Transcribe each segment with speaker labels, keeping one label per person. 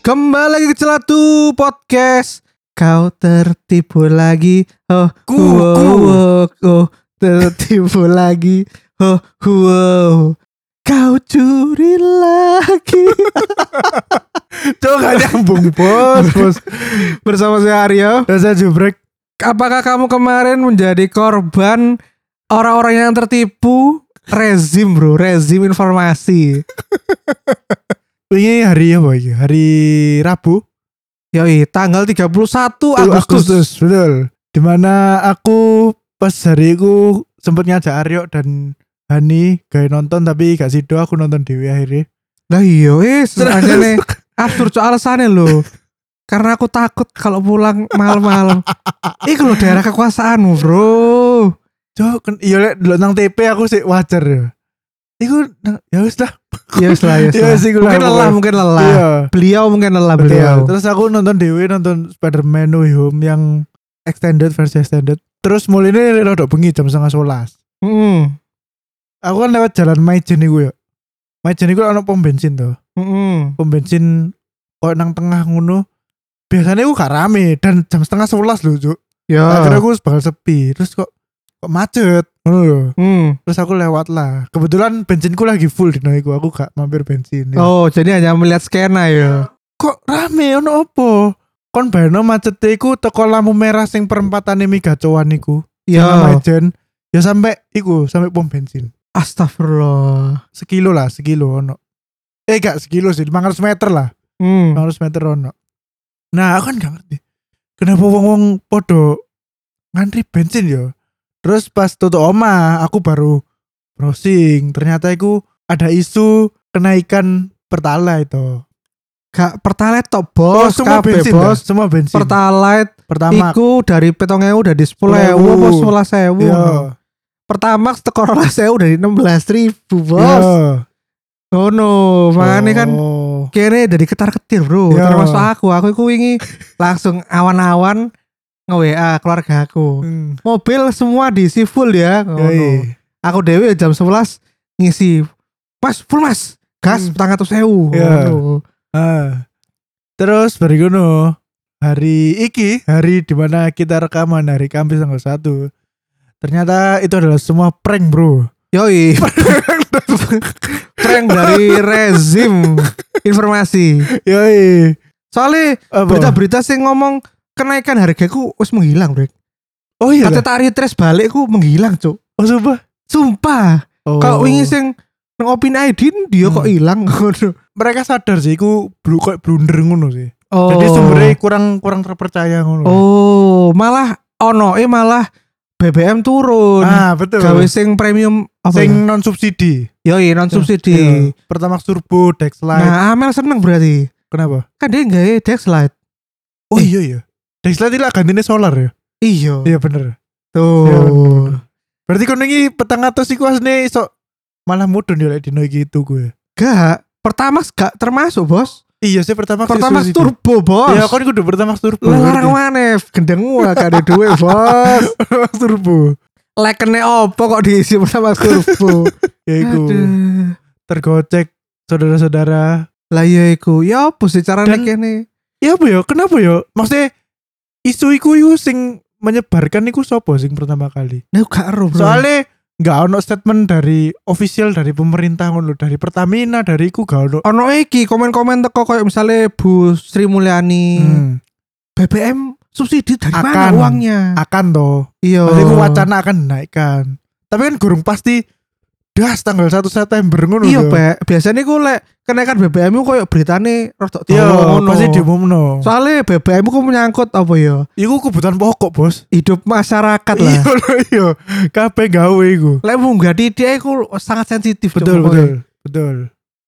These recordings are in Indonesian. Speaker 1: Kembali lagi ke Celatu Podcast. Kau tertipu lagi. Oh,
Speaker 2: Ku,
Speaker 1: wow,
Speaker 2: ku.
Speaker 1: wow, oh, tertipu lagi. Oh, wow. Kau curi lagi.
Speaker 2: Tuh gak nyambung bos bos
Speaker 1: Bersama saya Aryo.
Speaker 2: Dan saya jubrek
Speaker 1: Apakah kamu kemarin menjadi korban orang-orang yang tertipu? Rezim bro, rezim informasi.
Speaker 2: Ini hari apa ini? Hari Rabu
Speaker 1: Yoi, tanggal 31 Oh, Agustus.
Speaker 2: Betul Dimana aku pas hari itu sempet ngajak Aryo dan Hani gak nonton tapi gak sido aku nonton Dewi akhirnya
Speaker 1: Lah iya wis anjane absurd soal alasannya lho. Karena aku takut kalau pulang malam-malam. Iku lho daerah kekuasaanmu, Bro.
Speaker 2: Cok, ken- iya lek delok nang TP aku sih wajar ya Iku nang- ya wis lah
Speaker 1: Ya wis lah, ya wis
Speaker 2: Ya
Speaker 1: lah.
Speaker 2: wis, iku lah,
Speaker 1: Mungkin lelah,
Speaker 2: pokoknya.
Speaker 1: mungkin lelah.
Speaker 2: Iya
Speaker 1: Beliau mungkin lelah
Speaker 2: betul.
Speaker 1: beliau.
Speaker 2: Terus aku nonton Dewi nonton Spider-Man No Way Home yang extended versi extended Terus mulainya rodok bengi jam setengah sebelas
Speaker 1: Heeh.
Speaker 2: aku kan lewat jalan Maijen iku ya. Maijen iku ana pom bensin to.
Speaker 1: Heeh.
Speaker 2: Pom bensin koyo nang tengah ngono. Biasanya aku gak rame dan jam setengah sebelas loh cuk.
Speaker 1: Ya.
Speaker 2: Tak kira aku bakal sepi. Terus kok kok macet ngono lho.
Speaker 1: Hmm.
Speaker 2: Terus aku lewat lah. Kebetulan bensinku lagi full dino iku. Aku gak mampir bensin. ya.
Speaker 1: Oh, jadi hanya melihat skena ya.
Speaker 2: Kok rame ono opo? Kon bayarno macet iku teko lampu merah sing perempatan migacoan iku. Sing nang
Speaker 1: Ya.
Speaker 2: Maijen. Ya sampai iku, sampai pom bensin.
Speaker 1: Astagfirullah.
Speaker 2: sekilo lah sekilo ono eh gak sekilo sih 500 meter lah
Speaker 1: Hmm.
Speaker 2: 500 meter ono nah aku kan gak ngerti kenapa wong wong podo ngantri bensin yo terus pas tutup oma aku baru browsing ternyata aku ada isu kenaikan pertalite itu
Speaker 1: Gak pertalite tok, Bos. Kabeh,
Speaker 2: bensin dah,
Speaker 1: Bos.
Speaker 2: semua bensin
Speaker 1: Pertalite
Speaker 2: pertama
Speaker 1: ya? iku dari 7000 dari 10000 apa 11000.
Speaker 2: Yo,
Speaker 1: pertama teko rolas saya udah di 16 ribu
Speaker 2: yo.
Speaker 1: bos oh no makanya kan
Speaker 2: Iya. Oh.
Speaker 1: kene jadi ketar ketir bro
Speaker 2: Iya.
Speaker 1: termasuk aku aku iku wingi langsung awan-awan nge WA keluarga aku
Speaker 2: Hmm.
Speaker 1: mobil semua diisi full ya
Speaker 2: Iya,
Speaker 1: oh, no.
Speaker 2: Yoi.
Speaker 1: aku dewe jam 11 ngisi mas full mas gas
Speaker 2: Hmm.
Speaker 1: petang atau sewu
Speaker 2: Iya.
Speaker 1: Oh, no.
Speaker 2: Ah. Terus berikutnya hari iki, hari dimana kita rekaman hari Kamis tanggal 1 Ternyata itu adalah semua prank bro.
Speaker 1: yoi prank dari rezim informasi
Speaker 2: Yoi.
Speaker 1: soalnya
Speaker 2: Apa?
Speaker 1: berita-berita sih ngomong kenaikan hargaku wis menghilang bro
Speaker 2: oh iya.
Speaker 1: Kata
Speaker 2: lah.
Speaker 1: tari tres balik ku menghilang, Cuk.
Speaker 2: Oh sumpah.
Speaker 1: Sumpah.
Speaker 2: Oh.
Speaker 1: Kalau wingi sing nang Opin Aidin dia kok
Speaker 2: Hmm.
Speaker 1: hilang ngono.
Speaker 2: mereka sadar sih, ku blu kok blunder ngono sih. Jadi sumbernya kurang kurang terpercaya ngono.
Speaker 1: Oh, malah ono eh malah BBM turun.
Speaker 2: Ah betul.
Speaker 1: nah, Gawe sing premium apa
Speaker 2: Sing non subsidi.
Speaker 1: ya? Yoi,
Speaker 2: Iya,
Speaker 1: non subsidi.
Speaker 2: Pertama turbo, Dexlite.
Speaker 1: Nah, Amel seneng berarti.
Speaker 2: Kenapa?
Speaker 1: Kan dia gawe Dexlite.
Speaker 2: Oh
Speaker 1: Eh.
Speaker 2: iya iya. Dexlite lah gantinya solar ya.
Speaker 1: Iya.
Speaker 2: Iya bener.
Speaker 1: Oh.
Speaker 2: Iya,
Speaker 1: Tuh.
Speaker 2: Berarti kono iki petang atus iku asline iso malah mudun ya lek dino iki itu gue.
Speaker 1: Gak pertama gak termasuk, Bos.
Speaker 2: Iya sih pertama
Speaker 1: Pertama turbo, Bos.
Speaker 2: Ya kan kudu pertama turbo.
Speaker 1: Lah, larang maneh gendeng gua gak ada duit, Bos.
Speaker 2: Pertamax turbo.
Speaker 1: Lek kene opo kok diisi pertama turbo.
Speaker 2: Ya iku
Speaker 1: Aduh.
Speaker 2: tergocek saudara-saudara.
Speaker 1: Lah iya iku. Ya apa sih carane
Speaker 2: Dan-
Speaker 1: kene?
Speaker 2: Ya apa ya? Kenapa ya? Maksudnya isu iku iku sing menyebarkan iku sopo sing pertama kali.
Speaker 1: Nah gak ero, Bro.
Speaker 2: Soalnya nggak ono statement dari official dari pemerintah ngono lho, dari Pertamina dari iku gak ono.
Speaker 1: ono iki komen-komen teko koyo misalnya Bu Sri Mulyani,
Speaker 2: Hmm.
Speaker 1: BBM subsidi dari mana
Speaker 2: Akan.
Speaker 1: uangnya?
Speaker 2: Akan toh.
Speaker 1: Iya.
Speaker 2: Maksudnya iku wacana akan dinaikkan. Tapi kan gurung pasti das tanggal 1 September ngono
Speaker 1: Iya,
Speaker 2: lho.
Speaker 1: Pak. Biasanya ku lek kenaikan BBM ku koyo beritane rodok
Speaker 2: Iya,
Speaker 1: dawa Oh, ngono.
Speaker 2: pasti diumumno.
Speaker 1: Soalnya BBM ku menyangkut apa ya?
Speaker 2: Iku kebutuhan pokok, Bos.
Speaker 1: Hidup masyarakat
Speaker 2: Iya,
Speaker 1: lah.
Speaker 2: lho, iya. Kabeh gawe iku.
Speaker 1: Lek munggah di dia iku sangat sensitif Cuk,
Speaker 2: Betul,
Speaker 1: pokoknya.
Speaker 2: betul. Betul.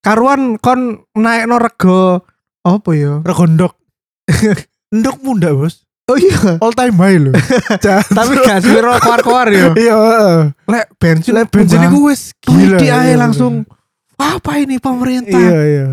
Speaker 1: Karuan kon naikno rego apa ya?
Speaker 2: Regondok. Ndok munda, Bos.
Speaker 1: Oh iya.
Speaker 2: All time high lho.
Speaker 1: tapi gak sira keluar-keluar ya.
Speaker 2: Iya, heeh.
Speaker 1: Lek bensin
Speaker 2: Lek bensin iku wis gila.
Speaker 1: gila.
Speaker 2: iya,
Speaker 1: langsung apa ini pemerintah?
Speaker 2: Iya, iya.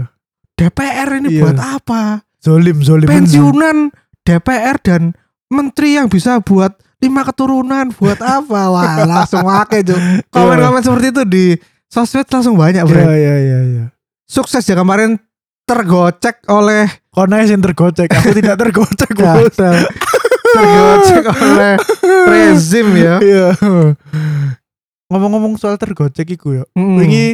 Speaker 1: DPR ini
Speaker 2: Iya.
Speaker 1: buat apa?
Speaker 2: Zolim, zolim.
Speaker 1: Pensiunan DPR dan menteri yang bisa buat lima keturunan buat apa? Wah, langsung wake tuh. Komen-komen seperti itu di sosmed langsung banyak,
Speaker 2: Iya,
Speaker 1: Bro.
Speaker 2: iya, iya, iya.
Speaker 1: Sukses ya kemarin tergocek oleh
Speaker 2: Kona yang tergocek, aku tidak tergocek bos.
Speaker 1: gatel. tergocek oleh rezim ya.
Speaker 2: Iya. Ngomong-ngomong soal tergocek iku ya.
Speaker 1: Mm.
Speaker 2: Wingi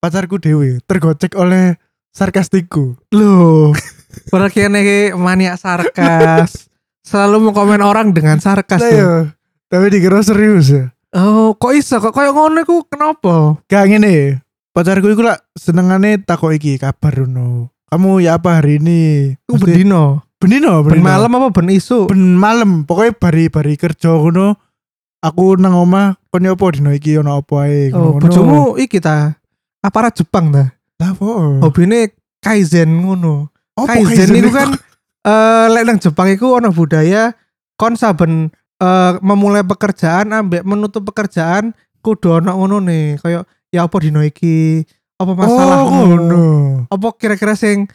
Speaker 2: pacarku dewe tergocek oleh sarkastiku.
Speaker 1: Loh, berarti ini maniak sarkas. Selalu mau komen orang dengan sarkas
Speaker 2: Lah
Speaker 1: tuh.
Speaker 2: ya, tapi dikira serius
Speaker 1: iya.
Speaker 2: ya.
Speaker 1: Oh, kok iso kok koyo ngono iku kenapa?
Speaker 2: Gak ngene, pacarku iku lak senengane takok iki kabar Runo. Kamu ya apa hari ini?
Speaker 1: Iku
Speaker 2: Mesti-
Speaker 1: bendino.
Speaker 2: benino,
Speaker 1: Ben
Speaker 2: benino.
Speaker 1: malam apa ben isu?
Speaker 2: ben malam. Pokoknya bari-bari kerja ngono. Aku nang omah kon ya apa dino iki ono apa ae
Speaker 1: Oh,
Speaker 2: ngono.
Speaker 1: bojomu iki ta. Aparat Jepang ta.
Speaker 2: Lah apa?
Speaker 1: Hobine kaizen ngono.
Speaker 2: Apa
Speaker 1: kaizen
Speaker 2: kaizen
Speaker 1: Oh, itu
Speaker 2: iku?
Speaker 1: kan eh lek nang Jepang iku ono budaya kon saben eh, memulai pekerjaan ambek menutup pekerjaan kudu ono ngono nih koyo ya apa dino iki apa masalah
Speaker 2: oh, ngono.
Speaker 1: apa kira-kira sing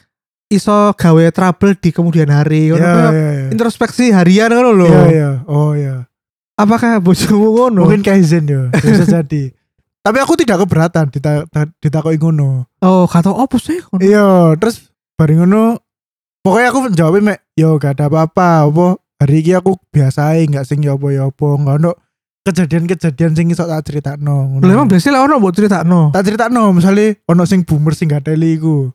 Speaker 1: iso gawe trouble di kemudian hari ngono
Speaker 2: Ya,
Speaker 1: koyo
Speaker 2: ya, ya.
Speaker 1: introspeksi harian ngono lho
Speaker 2: Iya, iya. Oh ya.
Speaker 1: apakah bojomu ngono
Speaker 2: Mungkin kaizen ya, bisa jadi. Tapi aku tidak keberatan dita- ta- ditakoki ngono.
Speaker 1: oh kata opo sih ngono
Speaker 2: Iya, terus bareng ngono pokoknya aku jawabnya mek yo gak ada apa-apa apa hari ini aku biasa ae gak sing yo apa yo apa gak ono kejadian-kejadian sing iso tak critakno ngono.
Speaker 1: Lho, emang biasanya lah ono mbok critakno
Speaker 2: tak critakno misale ono sing boomer sing gateli iku.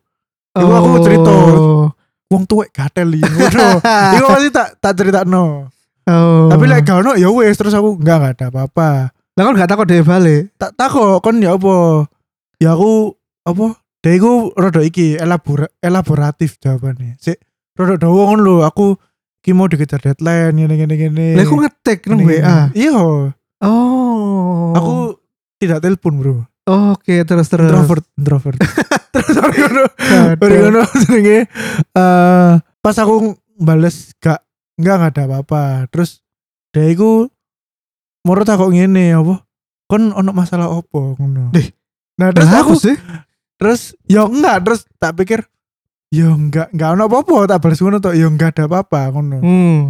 Speaker 2: Iku aku cerita.
Speaker 1: Oh.
Speaker 2: Wong tuwek gateli ngono. Iku pasti tak tak critakno.
Speaker 1: oh.
Speaker 2: Tapi lek gak ono ya wis terus aku enggak gak ada apa-apa.
Speaker 1: lah kan gak takut dhewe balik
Speaker 2: tak takok kon ya apa ya aku apa dia iku rada iki elabora, elaboratif jawabannya sik rada dawa ngono lho aku ki mau dikejar deadline ngene ngene ngene
Speaker 1: lah aku ngetik nang
Speaker 2: Ngene, ngene.
Speaker 1: WA
Speaker 2: iya
Speaker 1: Oh.
Speaker 2: aku tidak telepon bro
Speaker 1: oke terus terus. Nah,
Speaker 2: introvert introvert terus hari ngono
Speaker 1: Gaduh.
Speaker 2: hari ngono jenenge, eh, pas aku bales gak enggak enggak ada apa-apa terus dia iku moro takok ngene apa kon ono masalah opo ngono
Speaker 1: Dih.
Speaker 2: nah terus
Speaker 1: Lah,
Speaker 2: aku
Speaker 1: apa sih?
Speaker 2: terus ya enggak terus tak pikir ya enggak enggak ono apa-apa tak balas ngono tok ya enggak ada apa-apa ngono
Speaker 1: Hmm.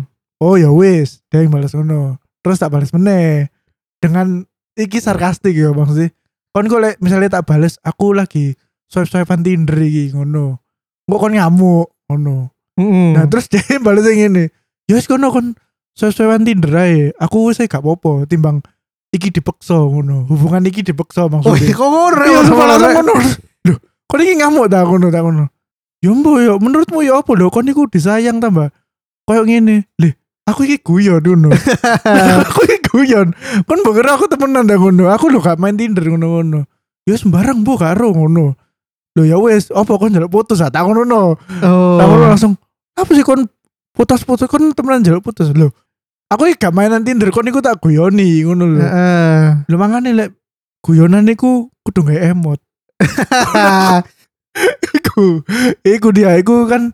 Speaker 2: oh ya wis dia yang balas ngono terus tak balas meneh dengan iki sarkastik ya bang sih kon kok lek misalnya tak balas aku lagi swipe swipean tinder iki ngono kok kon ngamuk ngono
Speaker 1: Mm-mm.
Speaker 2: nah terus dia balas yang ini ya wis kono kon swipe swipean tinder ae aku wis gak apa-apa timbang iki dipeksa ngono hubungan iki
Speaker 1: oh,
Speaker 2: dipeksa maksudnya
Speaker 1: iya, kok ngono
Speaker 2: Iya,
Speaker 1: Mas,
Speaker 2: sumpah langsung
Speaker 1: Mas.
Speaker 2: ngono. Duh, kok ini ngamuk tak ngono tak ngono. Ya mbok ya, menurutmu ya apa lho kon niku disayang tambah. Koyo ngene. Lih, aku iki guyon ngono. aku iki guyon. Kon mbok kira aku temenan tak ngono. Aku lho gak main Tinder ngono-ngono. Ya sembarang mbok karo ngono. Lho ya wis, apa kon njaluk putus ah tak ngono no.
Speaker 1: Oh.
Speaker 2: Tak ngono langsung apa sih kon putus-putus kon temenan njaluk putus lho. Aku iki gak mainan Tinder kon niku tak guyoni ngono lho.
Speaker 1: Heeh.
Speaker 2: Lho mangane lek guyonan niku kudu gawe emot. iku. Iku dia iku kan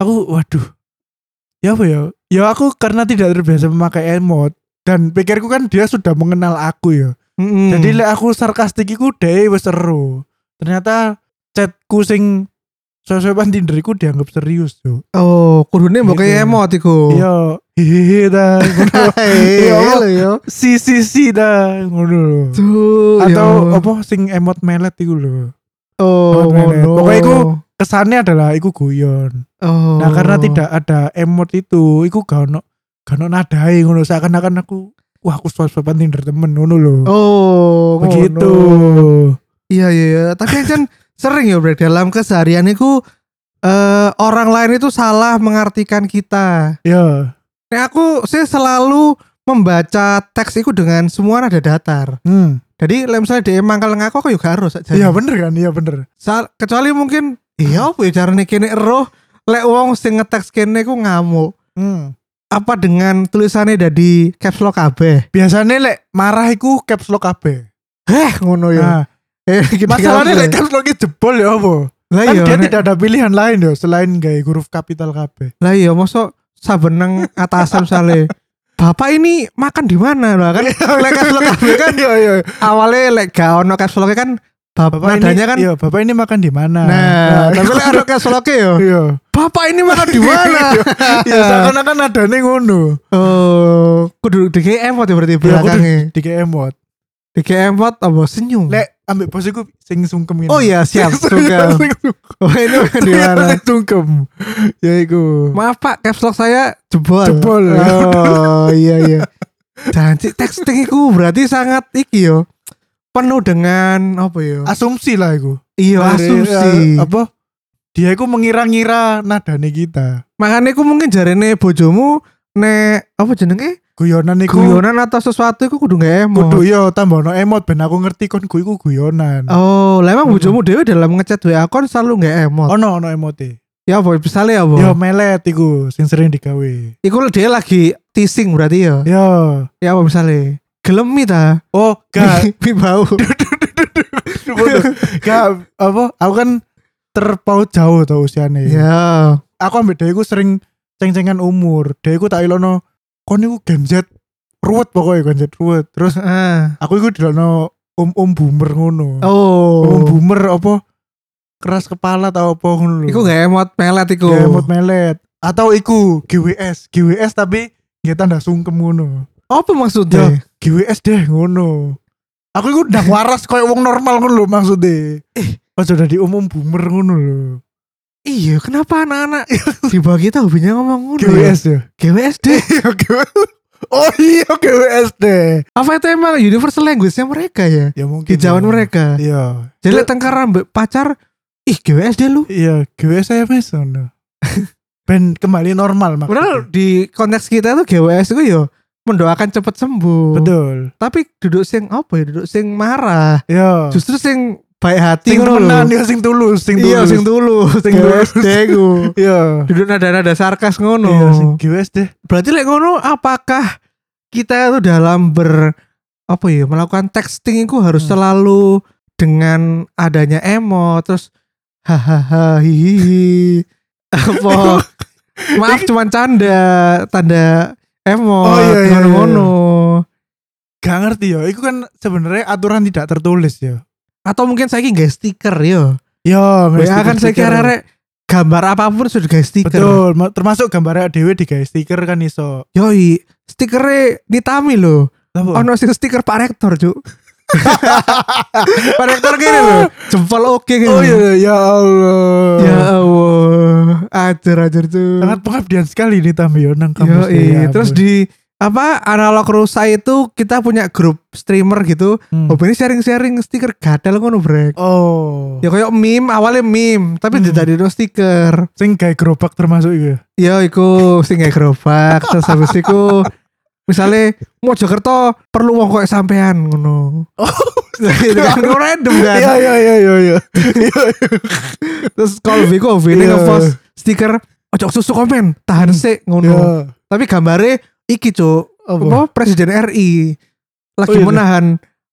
Speaker 2: aku waduh. Ya apa ya? Ya aku karena tidak terbiasa memakai emot dan pikirku kan dia sudah mengenal aku ya.
Speaker 1: Hmm. Mm-mm.
Speaker 2: Jadi lek aku sarkastik iku dhewe wis seru. Ternyata chatku sing sesuai Tinder iku dianggap serius yo.
Speaker 1: oh, kudune mbok
Speaker 2: Gitu.
Speaker 1: kaya emot iku.
Speaker 2: Iya, hehehe dah. ngono.
Speaker 1: Iya,
Speaker 2: Iya.
Speaker 1: lho, yo.
Speaker 2: Si si si dah ngono. lho.
Speaker 1: Duh, ya
Speaker 2: Atau
Speaker 1: yo.
Speaker 2: apa sing emot melet iku lho.
Speaker 1: oh,
Speaker 2: Emot melet.
Speaker 1: ngono.
Speaker 2: Pokoknya iku kesannya adalah iku guyon.
Speaker 1: Oh.
Speaker 2: Nah karena tidak ada emot itu, iku gak ono gak ono nadai ngono seakan-akan aku wah aku swipe-swipean Tinder temen ngono lho.
Speaker 1: Oh,
Speaker 2: Begitu.
Speaker 1: ngono. Iya iya, iya. tapi kan sering ya Bre dalam keseharian itu eh, orang lain itu salah mengartikan kita.
Speaker 2: Ya.
Speaker 1: Nah, aku sih selalu membaca teks itu dengan semua nada datar.
Speaker 2: Hmm.
Speaker 1: Jadi lek misalnya dia mangkal ngaku aku juga harus aja.
Speaker 2: Iya bener kan? Iya bener.
Speaker 1: Sa- kecuali mungkin iya apa ya carane kene roh lek wong sing ngeteks kene ku ngamuk.
Speaker 2: Hmm.
Speaker 1: Apa dengan tulisannya dari caps lock kabeh?
Speaker 2: Biasanya lek marah iku caps lock kabeh.
Speaker 1: Heh ngono ya.
Speaker 2: Nah,
Speaker 1: Eh, gitu
Speaker 2: masalahnya
Speaker 1: kabeh.
Speaker 2: lek caps lock jebol ya apa?
Speaker 1: lah
Speaker 2: Kan
Speaker 1: iya,
Speaker 2: dia
Speaker 1: nek-
Speaker 2: tidak ada pilihan lain ya selain gaya huruf kapital kabeh.
Speaker 1: Lah iya mosok saben nang atasan sale. Bapak ini makan di mana lah kan? Lek caps lock kabeh kan
Speaker 2: Iya iya.
Speaker 1: awalnya lek gak ono caps lock kan bapak
Speaker 2: Bapak
Speaker 1: nadanya
Speaker 2: ini,
Speaker 1: kan.
Speaker 2: iya, bapak ini makan di mana?
Speaker 1: Nah, tapi lek ono caps lock yo.
Speaker 2: iya.
Speaker 1: Bapak ini makan di mana? Nah.
Speaker 2: Iya, seakan-akan nadane ngono.
Speaker 1: Oh, kudu di GM ya berarti
Speaker 2: Ya, aku
Speaker 1: belakangnya.
Speaker 2: di- di kayak emot.
Speaker 1: Di GM pot apa senyum?
Speaker 2: Lek ambek bos iku sing sungkem
Speaker 1: Oh iya, siap. Sungkem. Oh, ini bukan di mana?
Speaker 2: Ternyata Iya, sungkem. Ya iku.
Speaker 1: Maaf Pak, caps lock saya jebol.
Speaker 2: Jebol.
Speaker 1: Oh, iya iya. Dan si texting iku berarti sangat iki yo. Penuh dengan apa yo?
Speaker 2: Asumsi lah iku.
Speaker 1: Iya,
Speaker 2: Dari, eh,
Speaker 1: asumsi.
Speaker 2: apa? Dia iku mengira-ngira nadane kita.
Speaker 1: Makanya iku mungkin jarene bojomu nek apa jenenge?
Speaker 2: Guyonan iku.
Speaker 1: Guyonan atau sesuatu iku kudu gak emot.
Speaker 2: Kudu yo tambah no emot ben aku ngerti kon gue iku guyonan.
Speaker 1: Oh, lah emang bojomu dhewe dalam ngechat WA kon selalu gak emot.
Speaker 2: Ono ono emote.
Speaker 1: Ya apa misalnya ya apa?
Speaker 2: Yo melet iku sing sering digawe.
Speaker 1: Iku dia lagi teasing berarti ya.
Speaker 2: Yo.
Speaker 1: Ya apa misalnya? Gelemi ta?
Speaker 2: Oh, gak
Speaker 1: Mi bau.
Speaker 2: Gak Ya, apa aku kan terpaut jauh tau usiane.
Speaker 1: Ya.
Speaker 2: Aku ambek dhewe ku sering ceng-cengan umur. Dhewe ku tak ilono kon iku Gen Z ruwet pokoknya Gen Z ruwet. Terus
Speaker 1: Ah.
Speaker 2: aku iku dilono om-om boomer ngono. Om
Speaker 1: Oh.
Speaker 2: boomer apa keras kepala tau apa ngono lho.
Speaker 1: Iku gak emot melet iku.
Speaker 2: Gak emot melet. Atau iku GWS, GWS tapi nggak tanda sungkem ngono.
Speaker 1: Apa maksudnya?
Speaker 2: GWS deh ngono. Aku iku ndak waras koyo wong normal ngono lho maksudnya. Eh, pas udah di umum boomer ngono lho.
Speaker 1: Iya, kenapa anak-anak tiba kita hobinya ngomong ngono? ya?
Speaker 2: GWS ya.
Speaker 1: GWSD.
Speaker 2: Iya, GWS. Oh iya GWS deh.
Speaker 1: Apa itu emang universal language-nya mereka ya?
Speaker 2: Ya mungkin.
Speaker 1: Hijauan
Speaker 2: ya.
Speaker 1: mereka.
Speaker 2: Iya.
Speaker 1: Jadi lek tengkar ambek pacar, ih GWSD lu.
Speaker 2: Iya, GWS SMS ngono. ben kembali normal
Speaker 1: Padahal
Speaker 2: maksudnya.
Speaker 1: di konteks kita tuh GWS itu yo mendoakan cepet sembuh.
Speaker 2: Betul.
Speaker 1: Tapi duduk sing apa ya? Duduk sing marah.
Speaker 2: Iya.
Speaker 1: Justru sing baik hati
Speaker 2: Sing
Speaker 1: ngono lho.
Speaker 2: temenan ya sing tulus, sing tulus.
Speaker 1: Iya sing tulus, sing
Speaker 2: Tulus.
Speaker 1: GWSD ku.
Speaker 2: Iya.
Speaker 1: Duduk nada-nada sarkas ngono.
Speaker 2: Iya, sing GWS deh.
Speaker 1: Berarti lek ngono apakah kita itu dalam ber apa ya melakukan texting itu harus
Speaker 2: Hmm.
Speaker 1: selalu dengan adanya emo terus hahaha hihihi apa maaf cuman canda tanda emo
Speaker 2: Oh, iya, iya,
Speaker 1: ngono
Speaker 2: Gak ngerti ya, itu kan sebenarnya aturan tidak tertulis ya.
Speaker 1: atau mungkin saya nggak stiker yo
Speaker 2: Ya,
Speaker 1: ya kan saya kira rek gambar apapun sudah guys
Speaker 2: gitu.
Speaker 1: stiker
Speaker 2: Betul, ma- termasuk gambarnya dewe di guys stiker kan iso.
Speaker 1: yoi stikernya ditami loh
Speaker 2: Apa?
Speaker 1: ono sing stiker Pak Rektor, Cuk. Pak Rektor gini loh, jempol oke gini.
Speaker 2: Oh iya, ya Allah.
Speaker 1: Ya Allah, ajar-ajar tuh.
Speaker 2: Sangat pengabdian sekali nih Tam ya nang kampus.
Speaker 1: Yoi.
Speaker 2: ya ampun.
Speaker 1: Terus di apa analog rusa itu kita punya grup streamer gitu.
Speaker 2: Hmm.
Speaker 1: Hobi ini sharing-sharing stiker gadel ngono, Brek.
Speaker 2: Oh.
Speaker 1: Ya kayak meme, awalnya meme, tapi
Speaker 2: Hmm.
Speaker 1: didadekno stiker.
Speaker 2: Sing kayak gerobak termasuk iku.
Speaker 1: Ya iku sing nggak gerobak, terus habis iku misalnya Mojokerto perlu wong koyo sampean ngono.
Speaker 2: Oh.
Speaker 1: Itu kan random kan.
Speaker 2: Iya, iya, iya, iya, iya.
Speaker 1: Terus kalau Viko Vini
Speaker 2: Iya.
Speaker 1: ngepost stiker ojo susu komen tahan sik ngono.
Speaker 2: Ya.
Speaker 1: Tapi gambarnya iki cuk
Speaker 2: Apa?
Speaker 1: apa presiden RI lagi
Speaker 2: Oh, iya.
Speaker 1: menahan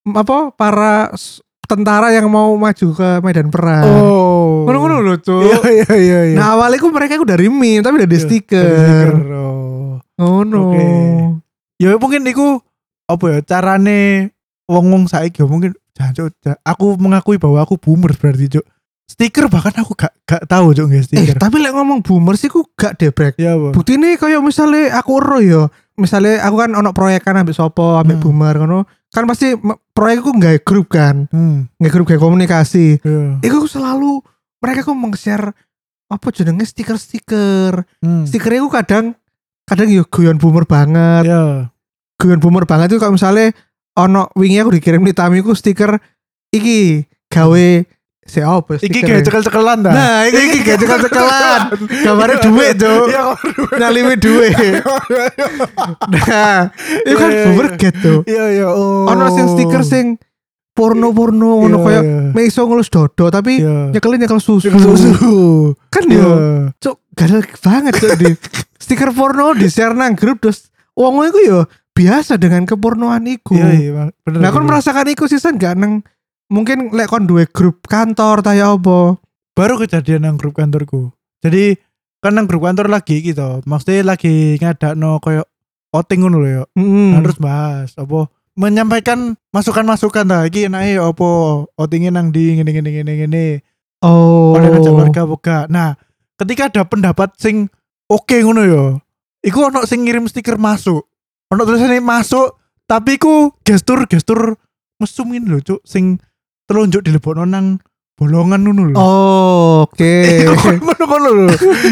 Speaker 1: m- apa para s- tentara yang mau maju ke medan perang.
Speaker 2: Oh.
Speaker 1: Ngono-ngono lho cuk.
Speaker 2: Iya, iya, iya, iya.
Speaker 1: Nah awalnya ku mereka ku dari meme tapi udah di
Speaker 2: Iya,
Speaker 1: stiker.
Speaker 2: Oh.
Speaker 1: Ngono. Eh,
Speaker 2: Oke. ya mungkin iku apa ya carane wong wong saiki ya mungkin jancuk ja- aku mengakui bahwa aku boomer berarti cuk stiker bahkan aku gak gak tahu cuk
Speaker 1: Eh
Speaker 2: nggak stiker
Speaker 1: tapi lek ngomong boomer sih ku gak deh brek.
Speaker 2: ya apa
Speaker 1: Bukti nih kayak misalnya aku ero ya Misalnya aku kan ono proyek kan ambil sopo, ambil
Speaker 2: Hmm.
Speaker 1: boomer ngono. Kan pasti me- proyekku nggak grup kan.
Speaker 2: hmm
Speaker 1: nggak grup kayak komunikasi
Speaker 2: ya.
Speaker 1: itu aku selalu mereka kok meng-share apa jenenge stiker-stiker
Speaker 2: hmm
Speaker 1: stikernya aku kadang kadang yo guyon boomer banget
Speaker 2: ya
Speaker 1: guyon boomer banget itu kalau misalnya ono wingi aku dikirim di tamiku stiker iki gawe si apa ya,
Speaker 2: iki
Speaker 1: stikernya?
Speaker 2: kayak cekel cekelan dah
Speaker 1: nah iki iki gawe cekel-cekelan gambarnya duit tuh
Speaker 2: ya
Speaker 1: nyalimi duit nah itu kan
Speaker 2: Iya, iya,
Speaker 1: boomer
Speaker 2: iya.
Speaker 1: get tuh
Speaker 2: ya ya oh
Speaker 1: ono sing stiker sing porno-porno ngono
Speaker 2: Iya,
Speaker 1: kayak
Speaker 2: iya.
Speaker 1: meiso ngelus dodo tapi
Speaker 2: ya
Speaker 1: nyekelin nyekel susu,
Speaker 2: Cekel susu
Speaker 1: kan
Speaker 2: ya
Speaker 1: yo cuk gagal banget cuk di stiker porno di share nang grup terus wong iku yo biasa dengan kepornoan iku
Speaker 2: ya iya Bang. bener
Speaker 1: nah kon
Speaker 2: bener.
Speaker 1: merasakan iku sisan gak neng mungkin lek kon duwe grup kantor ta ya apa
Speaker 2: baru kejadian nang grup kantorku jadi kan nang grup kantor lagi gitu maksudnya lagi ngadakno koyo outing ngono lho ya
Speaker 1: Mm-mm.
Speaker 2: Nah, terus bahas apa menyampaikan masukan-masukan ta iki enake ya apa outinge nang di ngene ngene ngene ngene
Speaker 1: oh
Speaker 2: oleh ngajak keluarga apa gak? nah ketika ada pendapat sing oke ngono ya iku ono sing ngirim stiker masuk ono tulisannya masuk tapi iku gestur gestur mesum ini lho cuk sing telunjuk dilebokno nang bolongan ngono lho.
Speaker 1: Oh, oke.
Speaker 2: Ngono-ngono lho.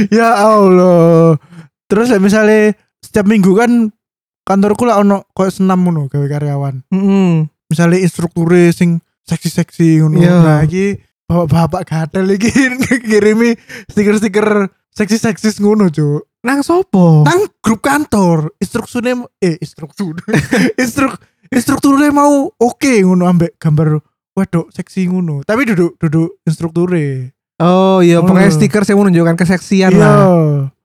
Speaker 2: Ya Allah. Terus like, misalnya setiap minggu kan kantorku lah ono koyo senam ngono gawe karyawan.
Speaker 1: Mm-mm.
Speaker 2: misalnya instrukture sing seksi-seksi ngono
Speaker 1: Iya.
Speaker 2: nah iki bapak-bapak gatel iki ngirimi stiker-stiker seksi-seksis ngono cuk
Speaker 1: Nang sopo?
Speaker 2: nang grup kantor instrukturnya eh instruktur instruk instrukturnya mau oke ngono ambek gambar waduh seksi ngono tapi duduk duduk instrukturnya
Speaker 1: Oh iya,
Speaker 2: Oh.
Speaker 1: pokoknya stiker saya menunjukkan keseksian lah.
Speaker 2: Iya.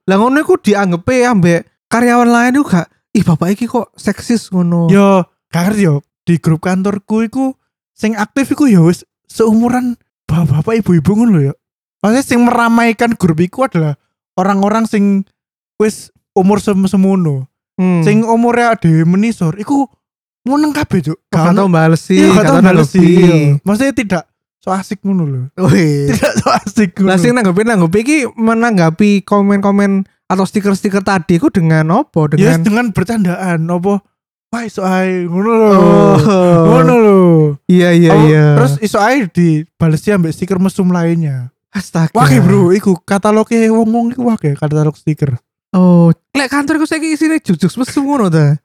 Speaker 1: Lah ngono iku dianggep e ambek karyawan lain iku gak ih bapak iki kok seksis ngono.
Speaker 2: yo Ya, gak ngerti yo di grup kantorku iku sing aktif iku ya wis seumuran bapak-bapak ibu-ibu ngono lho ya. Maksudnya sing meramaikan grup iku adalah orang-orang sing wis umur sem semono.
Speaker 1: Hmm.
Speaker 2: Sing umurnya ada menisor iku meneng kabeh,
Speaker 1: Oh,
Speaker 2: Cuk.
Speaker 1: gak tau bales sih,
Speaker 2: Iya, gak tau
Speaker 1: nanggep
Speaker 2: bales sih.
Speaker 1: i.
Speaker 2: Iya. Maksudnya tidak so asik ngono lho.
Speaker 1: Wih.
Speaker 2: Tidak so asik ngono.
Speaker 1: Lah sing nanggepi nanggepi iki menanggapi komen-komen atau stiker-stiker tadi ku dengan apa?
Speaker 2: Ya,
Speaker 1: Dengan
Speaker 2: dengan bercandaan apa wah iso ae ngono lho.
Speaker 1: Oh.
Speaker 2: Ngono lho.
Speaker 1: Iya iya
Speaker 2: Apa-
Speaker 1: iya.
Speaker 2: Oh, Terus iso ae dibalesi ambek stiker mesum lainnya.
Speaker 1: astaga.
Speaker 2: Wake bro, iku kataloge wong-wong iku wake katalog stiker.
Speaker 1: Oh, lek kantorku saiki isine jujuk mesum ngono ta.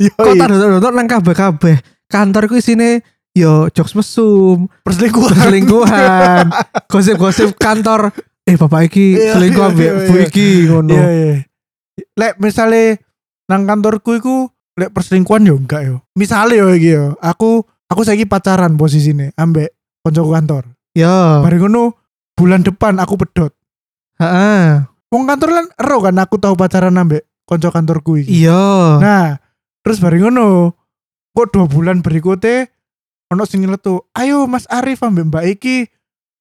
Speaker 2: Yo,
Speaker 1: Kok tak dodok-dodok nang kabeh-kabeh. Kantorku isine yo jokes mesum,
Speaker 2: perselingkuhan.
Speaker 1: perselingkuhan, gosip-gosip kantor. Eh bapak iki
Speaker 2: Iya,
Speaker 1: selingkuh
Speaker 2: iya,
Speaker 1: ambek
Speaker 2: iya,
Speaker 1: bu
Speaker 2: iya.
Speaker 1: iki ngono.
Speaker 2: Iya, iya. Lek misale nang kantorku iku lek perselingkuhan yo enggak yo. Misale yo iki yo, aku aku saiki pacaran posisine ambek koncoku kantor.
Speaker 1: Yo.
Speaker 2: Bareng ngono bulan depan aku pedot.
Speaker 1: Heeh.
Speaker 2: Wong kantor lan ero kan aku tahu pacaran ambek konco kantorku iki.
Speaker 1: Iya.
Speaker 2: Nah, terus bareng ngono kok dua bulan berikutnya ono sing nyeletu, "Ayo Mas Arif ambek Mbak Iki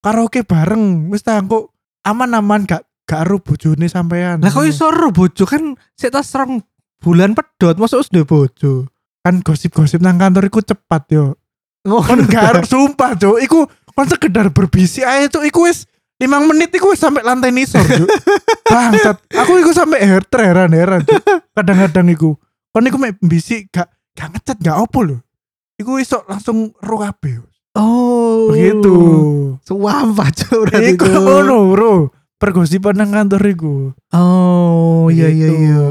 Speaker 2: karaoke bareng." Wis ta kok aman-aman gak gak aru bojone sampean.
Speaker 1: Lah kok iso ro bojo kan sik tas rong bulan pedot, masuk wis duwe bojo.
Speaker 2: kan gosip-gosip nang kantor iku cepat yo.
Speaker 1: kan?
Speaker 2: Kon gak aru sumpah, Cuk. Iku kon sekedar berbisik ae Cuk. Iku wis limang menit iku wis sampai lantai nisor, Cuk. Bangsat. Aku iku sampai her heran-heran, Cuk. Kadang-kadang iku kon iku mek bisik gak gak ngecat gak opo lho. Iku iso langsung ro kabeh.
Speaker 1: Oh.
Speaker 2: begitu
Speaker 1: Sumpah Cuk, berarti
Speaker 2: iku
Speaker 1: itu.
Speaker 2: ngono bro pergosipan nang kantor iku
Speaker 1: Oh, iya iya
Speaker 2: Begitu.
Speaker 1: iya.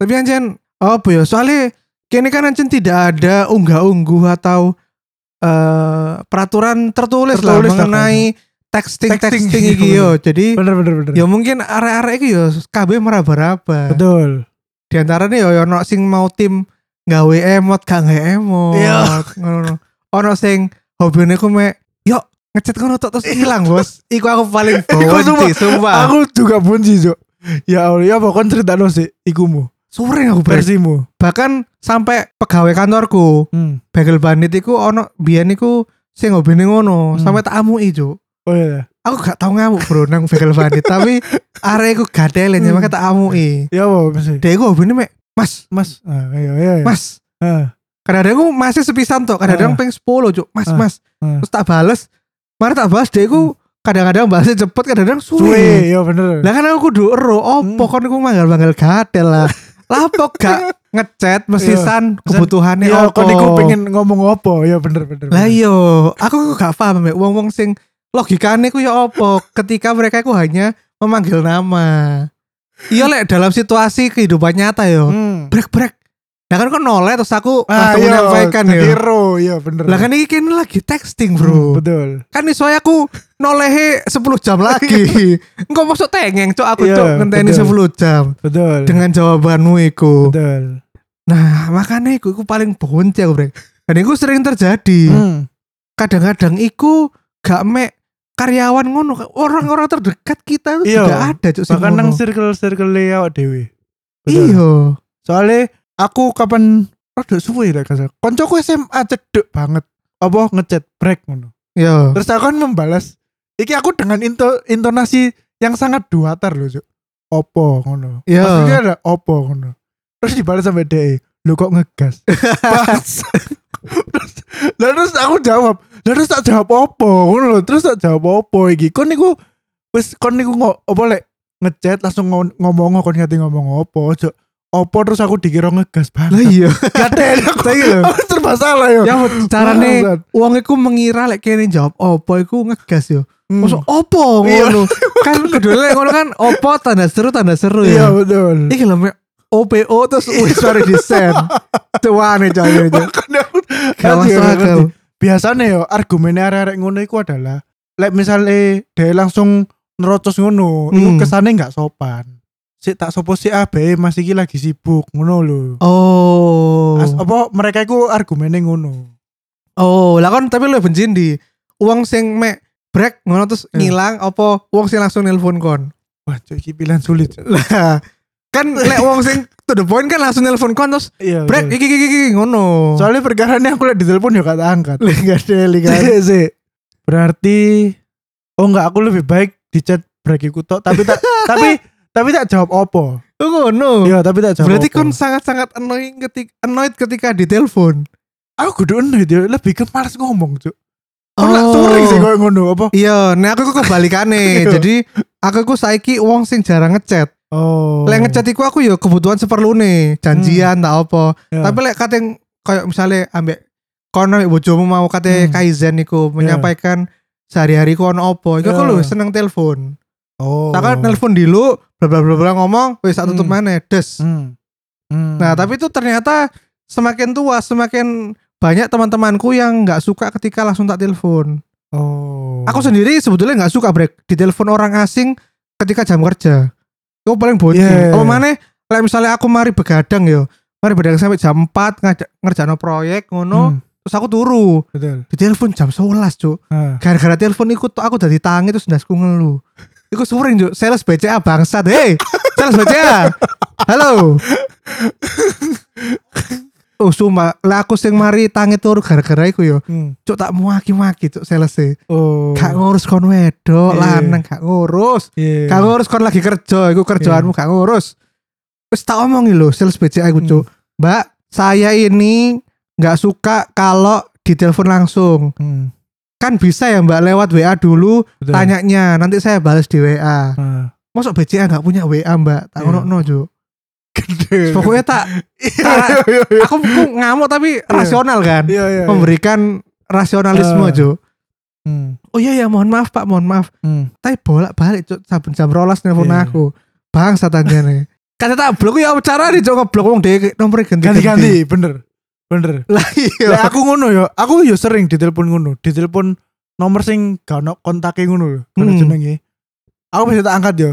Speaker 1: Tapi anjen apa ya? Soalnya kini kan anjen tidak ada unggah-ungguh atau eh, peraturan tertulis,
Speaker 2: Tertulis
Speaker 1: lah
Speaker 2: lah, kan.
Speaker 1: mengenai texting texting,
Speaker 2: Texting,
Speaker 1: iki
Speaker 2: iya,
Speaker 1: yo. Jadi
Speaker 2: bener bener bener
Speaker 1: ya mungkin arek-arek iki yo kabeh meraba-raba.
Speaker 2: betul
Speaker 1: Di antaranya yo yo ono sing mau tim gawe emot gak gawe emot.
Speaker 2: Iya.
Speaker 1: Ngono. Ono sing hobine ku mek yo ngecet ngono tok terus hilang, Bos. Iku aku paling benci, sumpah.
Speaker 2: aku juga benci Cuk. ya Allah ya pokoknya cerita lo sih ikumu
Speaker 1: Sore aku benci.
Speaker 2: versimu
Speaker 1: Bahkan sampai pegawai kantorku
Speaker 2: hmm.
Speaker 1: Bagel Bandit iku ono biyen iku sing hobine ngono,
Speaker 2: Hmm.
Speaker 1: sampe tak amuki, Cuk.
Speaker 2: oh iya
Speaker 1: Aku gak tau ngamuk, Bro, nang Bagel Bandit, tapi arek iku gadelen ya
Speaker 2: Hmm.
Speaker 1: makanya tak amuki.
Speaker 2: ya apa mas
Speaker 1: Dek iku hobine mek, Mas,
Speaker 2: mas ah, iya iya iya.
Speaker 1: Mas.
Speaker 2: Ah,
Speaker 1: Kadang-kadang aku masih sepisan tok, kadang-kadang
Speaker 2: Ah.
Speaker 1: peng 10, Cuk. Mas,
Speaker 2: Ah.
Speaker 1: Mas.
Speaker 2: Ah. Hmm.
Speaker 1: Terus tak bales. Mari tak bales dek iku kadang-kadang balesnya cepet, kadang-kadang suwe.
Speaker 2: suwe ya bener
Speaker 1: Lah kan aku kudu ero, opo
Speaker 2: Hmm.
Speaker 1: kon iku manggal-manggal gadel lah. Lapo gak ngechat mesisan kebutuhannya
Speaker 2: ya
Speaker 1: opo.
Speaker 2: kon iku pengen ngomong apa ya bener
Speaker 1: iya,
Speaker 2: bener
Speaker 1: Lah
Speaker 2: bener.
Speaker 1: iya, aku kok gak paham ya wong-wong sing logikane ku ya apa ketika mereka ku hanya memanggil nama. Iya lek dalam situasi kehidupan nyata yo.
Speaker 2: Hmm.
Speaker 1: Brek brek. Lah kan kok noleh terus aku
Speaker 2: Ah,
Speaker 1: langsung
Speaker 2: iya,
Speaker 1: menyampaikan ya.
Speaker 2: jadi
Speaker 1: yo.
Speaker 2: ro, iya bener
Speaker 1: Lah kan iki kene lagi texting,
Speaker 2: Hmm,
Speaker 1: Bro.
Speaker 2: betul
Speaker 1: Kan iso ae aku nolehe 10 jam lagi. Engko masuk tengeng cok aku
Speaker 2: Iya,
Speaker 1: cok ngenteni
Speaker 2: betul.
Speaker 1: 10 jam
Speaker 2: betul
Speaker 1: dengan jawabanmu iku.
Speaker 2: betul
Speaker 1: Nah, makanya iku iku paling bonti aku, Brek. Dan iku sering terjadi.
Speaker 2: Hmm.
Speaker 1: kadang-kadang iku gak mek karyawan ngono orang-orang terdekat kita itu
Speaker 2: Iya.
Speaker 1: tidak ada cuk sing
Speaker 2: bahkan nang
Speaker 1: ngono.
Speaker 2: circle circle awak dhewe. Bener.
Speaker 1: iya
Speaker 2: Soale aku kapan rada suwe lah kasar. Koncoku SMA cedek banget. Apa ngechat break ngono.
Speaker 1: iya
Speaker 2: Terus aku kan membalas iki aku dengan into- intonasi yang sangat duatar loh, Cuk. Opo ngono.
Speaker 1: Iya.
Speaker 2: Maksudnya ada opo ngono. Terus dibalas sampai DE, lu E, kok ngegas. Pas. terus, lah terus aku jawab, lah terus tak jawab opo ngono lho. Terus tak jawab opo iki. Kon niku wis kon niku ngo, opo lek ngechat langsung ngo- ngomong kon ngerti ngomong opo. Ojo opo terus aku dikira ngegas
Speaker 1: lah
Speaker 2: banget.
Speaker 1: iya
Speaker 2: Gatel aku.
Speaker 1: Tapi lho,
Speaker 2: Aku terus serba salah yo.
Speaker 1: ya carane
Speaker 2: Bangsat.
Speaker 1: wong iku mengira lek kene jawab opo iku ngegas yo.
Speaker 2: Hmm.
Speaker 1: Masuk opo
Speaker 2: Iya.
Speaker 1: ngono. kan kedule ngono kan opo tanda seru tanda seru ya.
Speaker 2: Iya betul.
Speaker 1: Iki lho me- OPO terus wis sorry di send. Tuane coy.
Speaker 2: Makanya aku-
Speaker 1: iya, Gak
Speaker 2: Ngerti,
Speaker 1: masuk
Speaker 2: ngerti.
Speaker 1: akal.
Speaker 2: Biasanya yo argumennya arek-arek ngono iku adalah lek misalnya dia langsung nerocos ngono,
Speaker 1: Hmm.
Speaker 2: iku kesannya nggak sopan. Si tak sopo si abe masih iki lagi sibuk ngono lho.
Speaker 1: Oh.
Speaker 2: As- apa mereka iku argumennya ngono.
Speaker 1: Oh, lah kan tapi lu benci di uang sing mek break ngono terus
Speaker 2: Iya.
Speaker 1: ngilang apa uang sing langsung nelpon kon.
Speaker 2: Wah, cok, iki pilihan sulit. Cok.
Speaker 1: Lah, kan lek wong sing to the point kan langsung nelpon kon terus
Speaker 2: Iya.
Speaker 1: break
Speaker 2: betul.
Speaker 1: iki iki iki ngono.
Speaker 2: Soalnya perkara ini aku liat di telepon ya kata angkat.
Speaker 1: Enggak ada ligan.
Speaker 2: Sik, sik. Berarti oh enggak aku lebih baik di chat break iku tok tapi tak tapi tapi tak jawab opo.
Speaker 1: Oh, Ngono.
Speaker 2: Iya, tapi tak jawab.
Speaker 1: Berarti kan
Speaker 2: opo.
Speaker 1: kon sangat-sangat annoying ketika annoyed ketika ditelepon.
Speaker 2: aku kudu enak dia lebih ke malas ngomong, Cuk. Kon
Speaker 1: Oh.
Speaker 2: lak sore sih koyo ngono apa?
Speaker 1: Iya, nek aku kok kebalikane.
Speaker 2: Iya.
Speaker 1: Jadi aku ku saiki wong sing jarang ngechat.
Speaker 2: Oh.
Speaker 1: Lek ngechat iku aku ya kebutuhan seperlune, janjian tak apa.
Speaker 2: Ya.
Speaker 1: Tapi lek kateng kayak misalnya ambek kon ambek bojomu mau kate
Speaker 2: Hmm.
Speaker 1: kaizen iku menyampaikan sehari-hari ku ono apa. Iku aku
Speaker 2: Ya.
Speaker 1: lho seneng telepon.
Speaker 2: oh.
Speaker 1: Tak kan nelpon dulu bla bla bla bla ngomong wis tak tutup
Speaker 2: Hmm.
Speaker 1: maneh des.
Speaker 2: Hmm. Hmm.
Speaker 1: Nah, tapi itu ternyata semakin tua semakin banyak teman-temanku yang nggak suka ketika langsung tak telepon.
Speaker 2: oh.
Speaker 1: Aku sendiri sebetulnya nggak suka break ditelepon orang asing ketika jam kerja. Aku paling bocil.
Speaker 2: Yeah.
Speaker 1: Apa maneh lek misalnya aku mari begadang yo. Mari begadang sampai jam 4 ngajak ngerjain proyek ngono.
Speaker 2: Hmm,
Speaker 1: terus aku turu
Speaker 2: betul.
Speaker 1: di telepon jam 11 cuk
Speaker 2: Ah.
Speaker 1: gara-gara telepon iku tuh aku dari tangi terus ndasku ngelu iku sering cuk sales BCA bangsat hei sales BCA halo oh sumpah lah aku sing mari tangi turu gara-gara iku yo
Speaker 2: Hmm.
Speaker 1: cuk tak muaki-maki cuk sales e
Speaker 2: Oh.
Speaker 1: gak ngurus kon wedok
Speaker 2: Iya.
Speaker 1: lanang gak ngurus
Speaker 2: Iya.
Speaker 1: gak ngurus kon lagi kerja iku kerjaanmu gak ngurus wis tak omongi lho sales BCA iku cuk
Speaker 2: Hmm.
Speaker 1: Mbak, saya ini nggak suka kalau ditelepon langsung.
Speaker 2: Hmm.
Speaker 1: Kan bisa ya Mbak lewat WA dulu,
Speaker 2: Betul.
Speaker 1: tanyanya, nanti saya balas di WA.
Speaker 2: Ah.
Speaker 1: Masuk BCA nggak punya WA Mbak, tak
Speaker 2: Iya.
Speaker 1: ngono Cuk.
Speaker 2: Gede.
Speaker 1: Pokoknya tak,
Speaker 2: Iya,
Speaker 1: tak-
Speaker 2: iya, iya.
Speaker 1: aku aku ngamuk tapi rasional kan,
Speaker 2: Iya, iya. iya.
Speaker 1: memberikan rasionalisme
Speaker 2: Ah.
Speaker 1: Cuk.
Speaker 2: Hmm.
Speaker 1: Oh iya ya, mohon maaf Pak, mohon maaf.
Speaker 2: Hmm.
Speaker 1: Tapi bolak balik Cuk, saben jam rolas nelfon
Speaker 2: Iya.
Speaker 1: aku. Bang satanjane. Kata tak blok ya cara nih Cuk ngeblok wong dhek nomor e ganti-ganti.
Speaker 2: ganti-ganti bener bener
Speaker 1: Lah
Speaker 2: Lah,
Speaker 1: iya.
Speaker 2: aku ngono yo aku yo sering ditelepon ngono ditelepon nomor sing gak ono kontake ngono lho gak ono
Speaker 1: Hmm.
Speaker 2: jenenge aku bisa tak angkat yo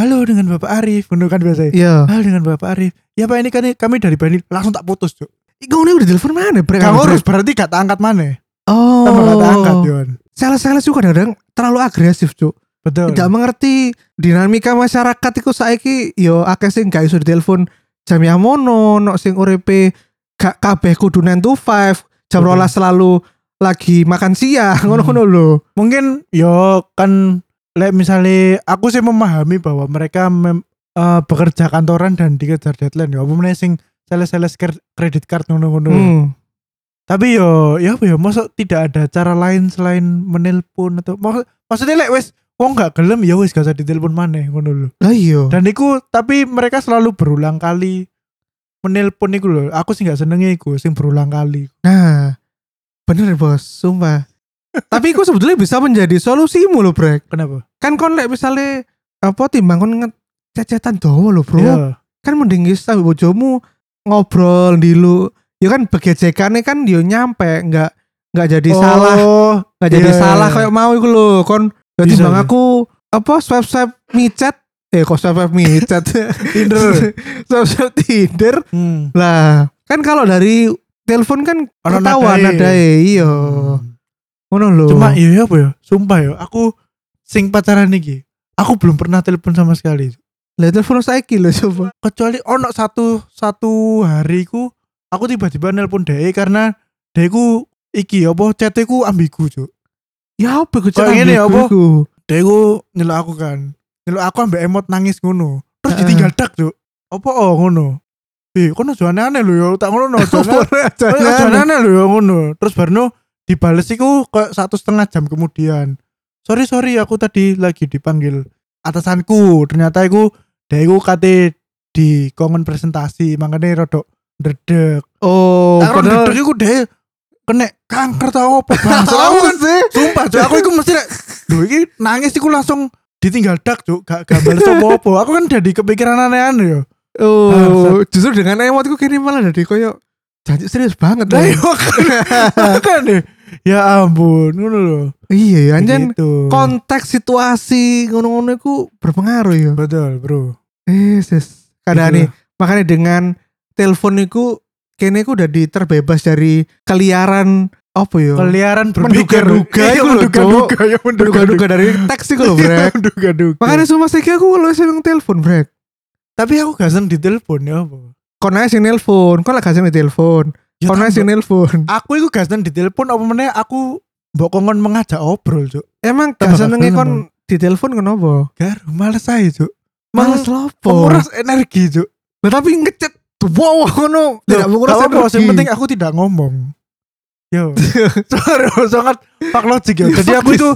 Speaker 2: halo dengan bapak Arif ngono kan biasa
Speaker 1: Iya.
Speaker 2: halo dengan bapak Arif ya pak ini kan kami dari Bali langsung tak putus yo
Speaker 1: Iku udah telepon mana, Bre?
Speaker 2: gak ngurus berarti gak tak angkat mana
Speaker 1: Oh.
Speaker 2: tambah gak tak angkat Oh, yo
Speaker 1: sales-sales juga kadang terlalu agresif cuk
Speaker 2: betul
Speaker 1: tidak mengerti dinamika masyarakat itu saiki yo akeh sing gak iso ditelepon jam yang mono nok sing urepe gak kabeh kudu 9 to 5 jam
Speaker 2: Betul.
Speaker 1: rolas selalu lagi makan
Speaker 2: Hmm.
Speaker 1: siang ngono-ngono lho
Speaker 2: mungkin yo kan lek misalnya aku sih memahami bahwa mereka mem- eh, bekerja kantoran dan dikejar deadline yo apa meneh sing sales-sales ker- kredit card ngono-ngono yo.
Speaker 1: hmm.
Speaker 2: Tapi yo, ya apa ya, masa tidak ada cara lain selain menelpon atau mak- maksudnya lek wes wong gak gelem ya wes gak usah ditelepon maneh ngono lho.
Speaker 1: lah iya
Speaker 2: Dan iku tapi mereka selalu berulang kali menelpon iku lho. Aku sih gak senenge iku sing berulang kali.
Speaker 1: nah bener bos sumpah tapi aku sebetulnya bisa menjadi solusimu loh brek
Speaker 2: Kenapa?
Speaker 1: kan kon lek misalnya apa timbang kon ngececetan dowo lho bro
Speaker 2: Iya.
Speaker 1: kan mending wis sampe bojomu ngobrol dulu ya kan begejekane kan yo nyampe nggak nggak jadi
Speaker 2: Oh,
Speaker 1: salah nggak jadi
Speaker 2: iya, iya,
Speaker 1: salah
Speaker 2: iya.
Speaker 1: kayak mau iku lho kon ya
Speaker 2: Bisa,
Speaker 1: timbang
Speaker 2: iya.
Speaker 1: aku apa swipe swipe micet eh kok swipe swipe micet
Speaker 2: Tinder.
Speaker 1: swipe swipe tinder
Speaker 2: Hmm.
Speaker 1: lah kan kalau dari telepon kan
Speaker 2: Ono
Speaker 1: ketahuan
Speaker 2: nadae.
Speaker 1: ada iya
Speaker 2: Hmm.
Speaker 1: ngono lho
Speaker 2: Cuma iya ya apa ya? Sumpah ya, aku sing pacaran iki. Aku belum pernah telepon sama sekali.
Speaker 1: lah telepon saiki lho coba
Speaker 2: kecuali ono satu satu hari ku aku tiba-tiba nelpon DE karena DE ku iki apa cete ku ambigu cuk
Speaker 1: ya apa gue
Speaker 2: Kok ngene ya, apa?
Speaker 1: iku.
Speaker 2: DE ku nyeluk aku kan nyeluk aku ambek emot nangis ngono terus
Speaker 1: Heeh.
Speaker 2: ditinggal dak cuk apa oh ngono eh kono jane aneh lho ya
Speaker 1: Oh,
Speaker 2: tak ngono no jane jane aneh lho ya ngono terus barno dibales iku kayak satu setengah jam kemudian sorry sorry aku tadi lagi dipanggil atasanku ternyata iku DE ku kate di kongen presentasi makanya rodok dedek.
Speaker 1: Oh,
Speaker 2: Aku
Speaker 1: padahal
Speaker 2: dedek iku dhewe kena kanker tau apa bangsa. aku
Speaker 1: Apa
Speaker 2: kan
Speaker 1: sih?
Speaker 2: sumpah Cuk. aku iku mesti rek lho iki nangis iku langsung ditinggal dak cuk gak gambar sopo-opo. Aku kan jadi kepikiran aneh-aneh yo.
Speaker 1: Oh,
Speaker 2: Bangsat.
Speaker 1: justru dengan emot iku kini malah dari koyo janji serius banget. Nah,
Speaker 2: Lah iya,
Speaker 1: Bang.
Speaker 2: yo kan deh. Ya ampun, ngono lho.
Speaker 1: Iya, ya anjen
Speaker 2: Gitu.
Speaker 1: konteks situasi ngono-ngono iku berpengaruh ya.
Speaker 2: Betul, Bro.
Speaker 1: Eh, sis. Kadang nih,
Speaker 2: Gitu
Speaker 1: makanya dengan telepon iku kene iku udah terbebas dari keliaran apa ya?
Speaker 2: Peliaran berpikir
Speaker 1: Menduga-duga
Speaker 2: Iya,
Speaker 1: itu lho, Cuk.
Speaker 2: menduga-duga ya menduga-duga. Iya,
Speaker 1: Duga-duga dari teks iku lho, Brek.
Speaker 2: Menduga-duga.
Speaker 1: Makanya semua saiki aku lu seneng telepon, Brek.
Speaker 2: tapi aku gak seneng ditelepon ya apa.
Speaker 1: Kon ae sing nelpon, kon lah gak sing telepon.
Speaker 2: Ya,
Speaker 1: Kon ae
Speaker 2: tambah-
Speaker 1: sing nelpon.
Speaker 2: aku itu gak seneng ditelepon apa meneh aku mbok kongkon mengajak obrol cuk
Speaker 1: Emang gak
Speaker 2: Tambah gak
Speaker 1: senenge
Speaker 2: seneng,
Speaker 1: kon ditelepon kenapa?
Speaker 2: gar males aja cuk
Speaker 1: Males
Speaker 2: males
Speaker 1: lopo.
Speaker 2: menguras energi cuk
Speaker 1: Lah tapi ngecet wow ngono tidak
Speaker 2: Loh,
Speaker 1: menguras
Speaker 2: gak apa-apa,
Speaker 1: energi.
Speaker 2: yang penting aku tidak ngomong yo sorry sangat pak logik ya
Speaker 1: Ya,
Speaker 2: jadi
Speaker 1: fuck
Speaker 2: aku
Speaker 1: this.
Speaker 2: itu